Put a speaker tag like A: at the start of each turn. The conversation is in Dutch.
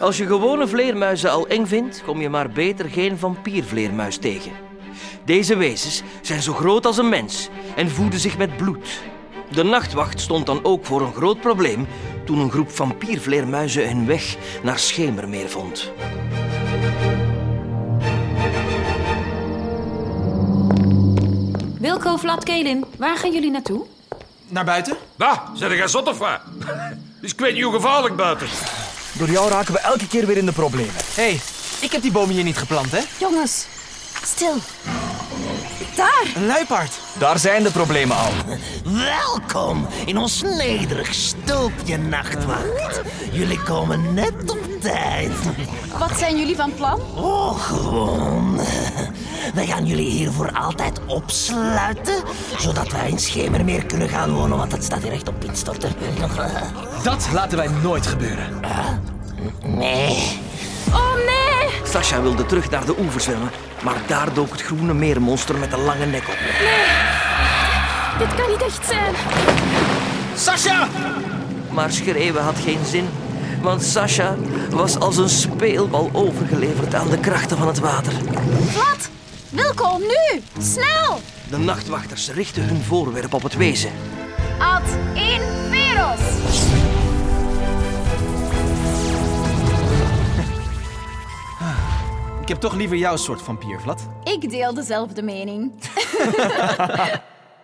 A: Als je gewone vleermuizen al eng vindt, kom je maar beter geen vampiervleermuis tegen. Deze wezens zijn zo groot als een mens en voeden zich met bloed. De nachtwacht stond dan ook voor een groot probleem toen een groep vampiervleermuizen hun weg naar Schemermeer vond.
B: Wilco, Vlad, Kelin, waar gaan jullie naartoe?
C: Naar buiten?
D: Bah, zijn Nou, er geen zot of wat? Dus ik weet niet hoe gevaarlijk buiten.
C: Door jou Nou raken we elke keer weer in de problemen. Hé, hey, ik heb die bomen hier niet geplant, hè?
E: Jongens, stil. Daar!
C: Een luipaard. Daar zijn de problemen al.
F: Welkom in ons nederig stulpje nachtwacht. Jullie komen net op tijd.
E: Wat zijn jullie van plan?
F: Oh, gewoon. Wij gaan jullie hier voor altijd opsluiten, zodat wij in Schemermeer kunnen gaan wonen, want dat staat hier echt op instorten.
C: Dat laten wij nooit gebeuren.
F: Eh? Nee.
B: Oh nee!
A: Sasha wilde terug naar de oever zwemmen, maar daar dook het groene meermonster met een lange nek op.
B: Dit kan niet echt zijn.
C: Sasha!
A: Maar schreeuwen had geen zin, want Sasha was als een speelbal overgeleverd aan de krachten van het water.
E: Vlad! Wilco, nu! Snel!
A: De nachtwachters richtten hun voorwerp op het wezen.
E: Ad in veros!
C: Ik heb toch liever jouw soort vampier, Vlad.
E: Ik deel dezelfde mening.